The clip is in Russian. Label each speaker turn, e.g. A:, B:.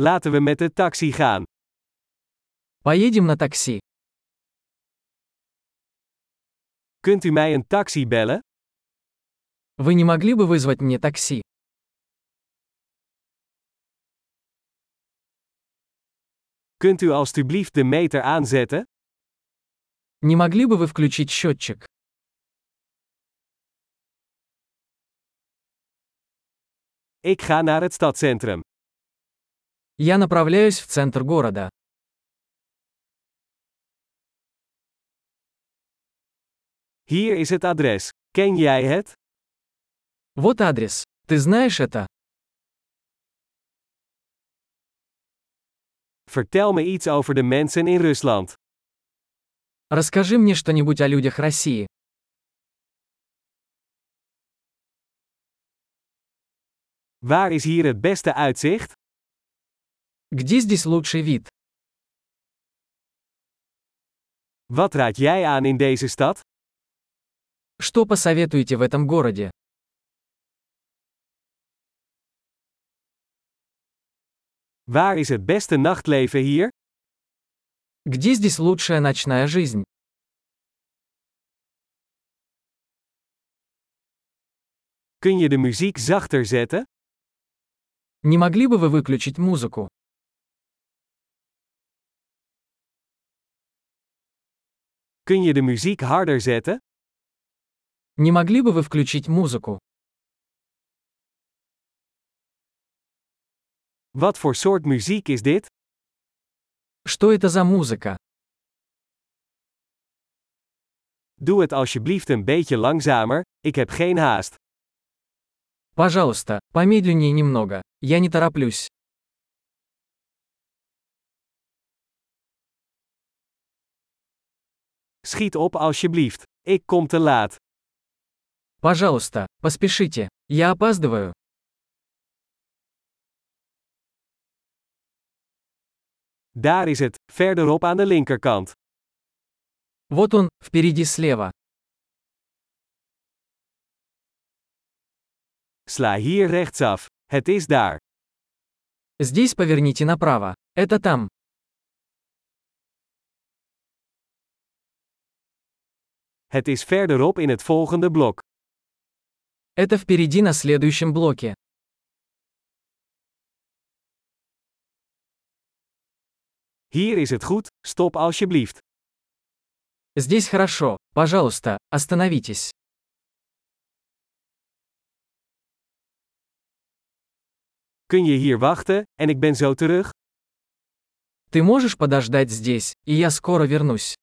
A: Laten we met de taxi gaan.
B: Поедем на такси.
A: Kunt u mij een taxi bellen?
B: Вы не могли бы вызвать мне такси?
A: Kunt u alstublieft de meter aanzetten?
B: Не могли бы вы включить счетчик?
A: Ik ga naar het stadcentrum.
B: Я направляюсь в центр города.
A: Hier is het adres. Ken jij het?
B: Вот адрес. Ты знаешь это?
A: Vertel me iets over de mensen in Rusland.
B: Расскажи мне что-нибудь о людях России.
A: Waar is hier het beste uitzicht?
B: Где здесь лучший вид?
A: Wat raad jij aan in deze stad?
B: Что посоветуете в этом городе?
A: Waar is het beste nachtleven hier?
B: Где здесь лучшая ночная жизнь?
A: Kun je de muziek zachter zetten?
B: Не могли бы вы выключить музыку?
A: Kun je de muziek harder zetten?
B: Не могли бы вы включить музыку?
A: Wat voor soort muziek is dit?
B: Что это за музыка?
A: Doe het alsjeblieft een beetje langzamer, ik heb geen haast.
B: Пожалуйста, помедленнее немного. Я не тороплюсь.
A: Schiet op alsjeblieft, ik kom te laat.
B: Пожалуйста, поспешите. Я опаздываю.
A: Daar is het, verderop aan de linkerkant.
B: Вот он, впереди слева.
A: Sla hier rechtsaf. Het is daar.
B: Здесь поверните направо. Это там.
A: Het is verderop in het volgende blok.
B: Это впереди на следующем блоке.
A: Hier is het goed, stop alsjeblieft.
B: Здесь хорошо. Пожалуйста, остановитесь.
A: Kun je hier wachten, en ik ben zo terug?
B: Ты можешь подождать здесь, и я скоро вернусь.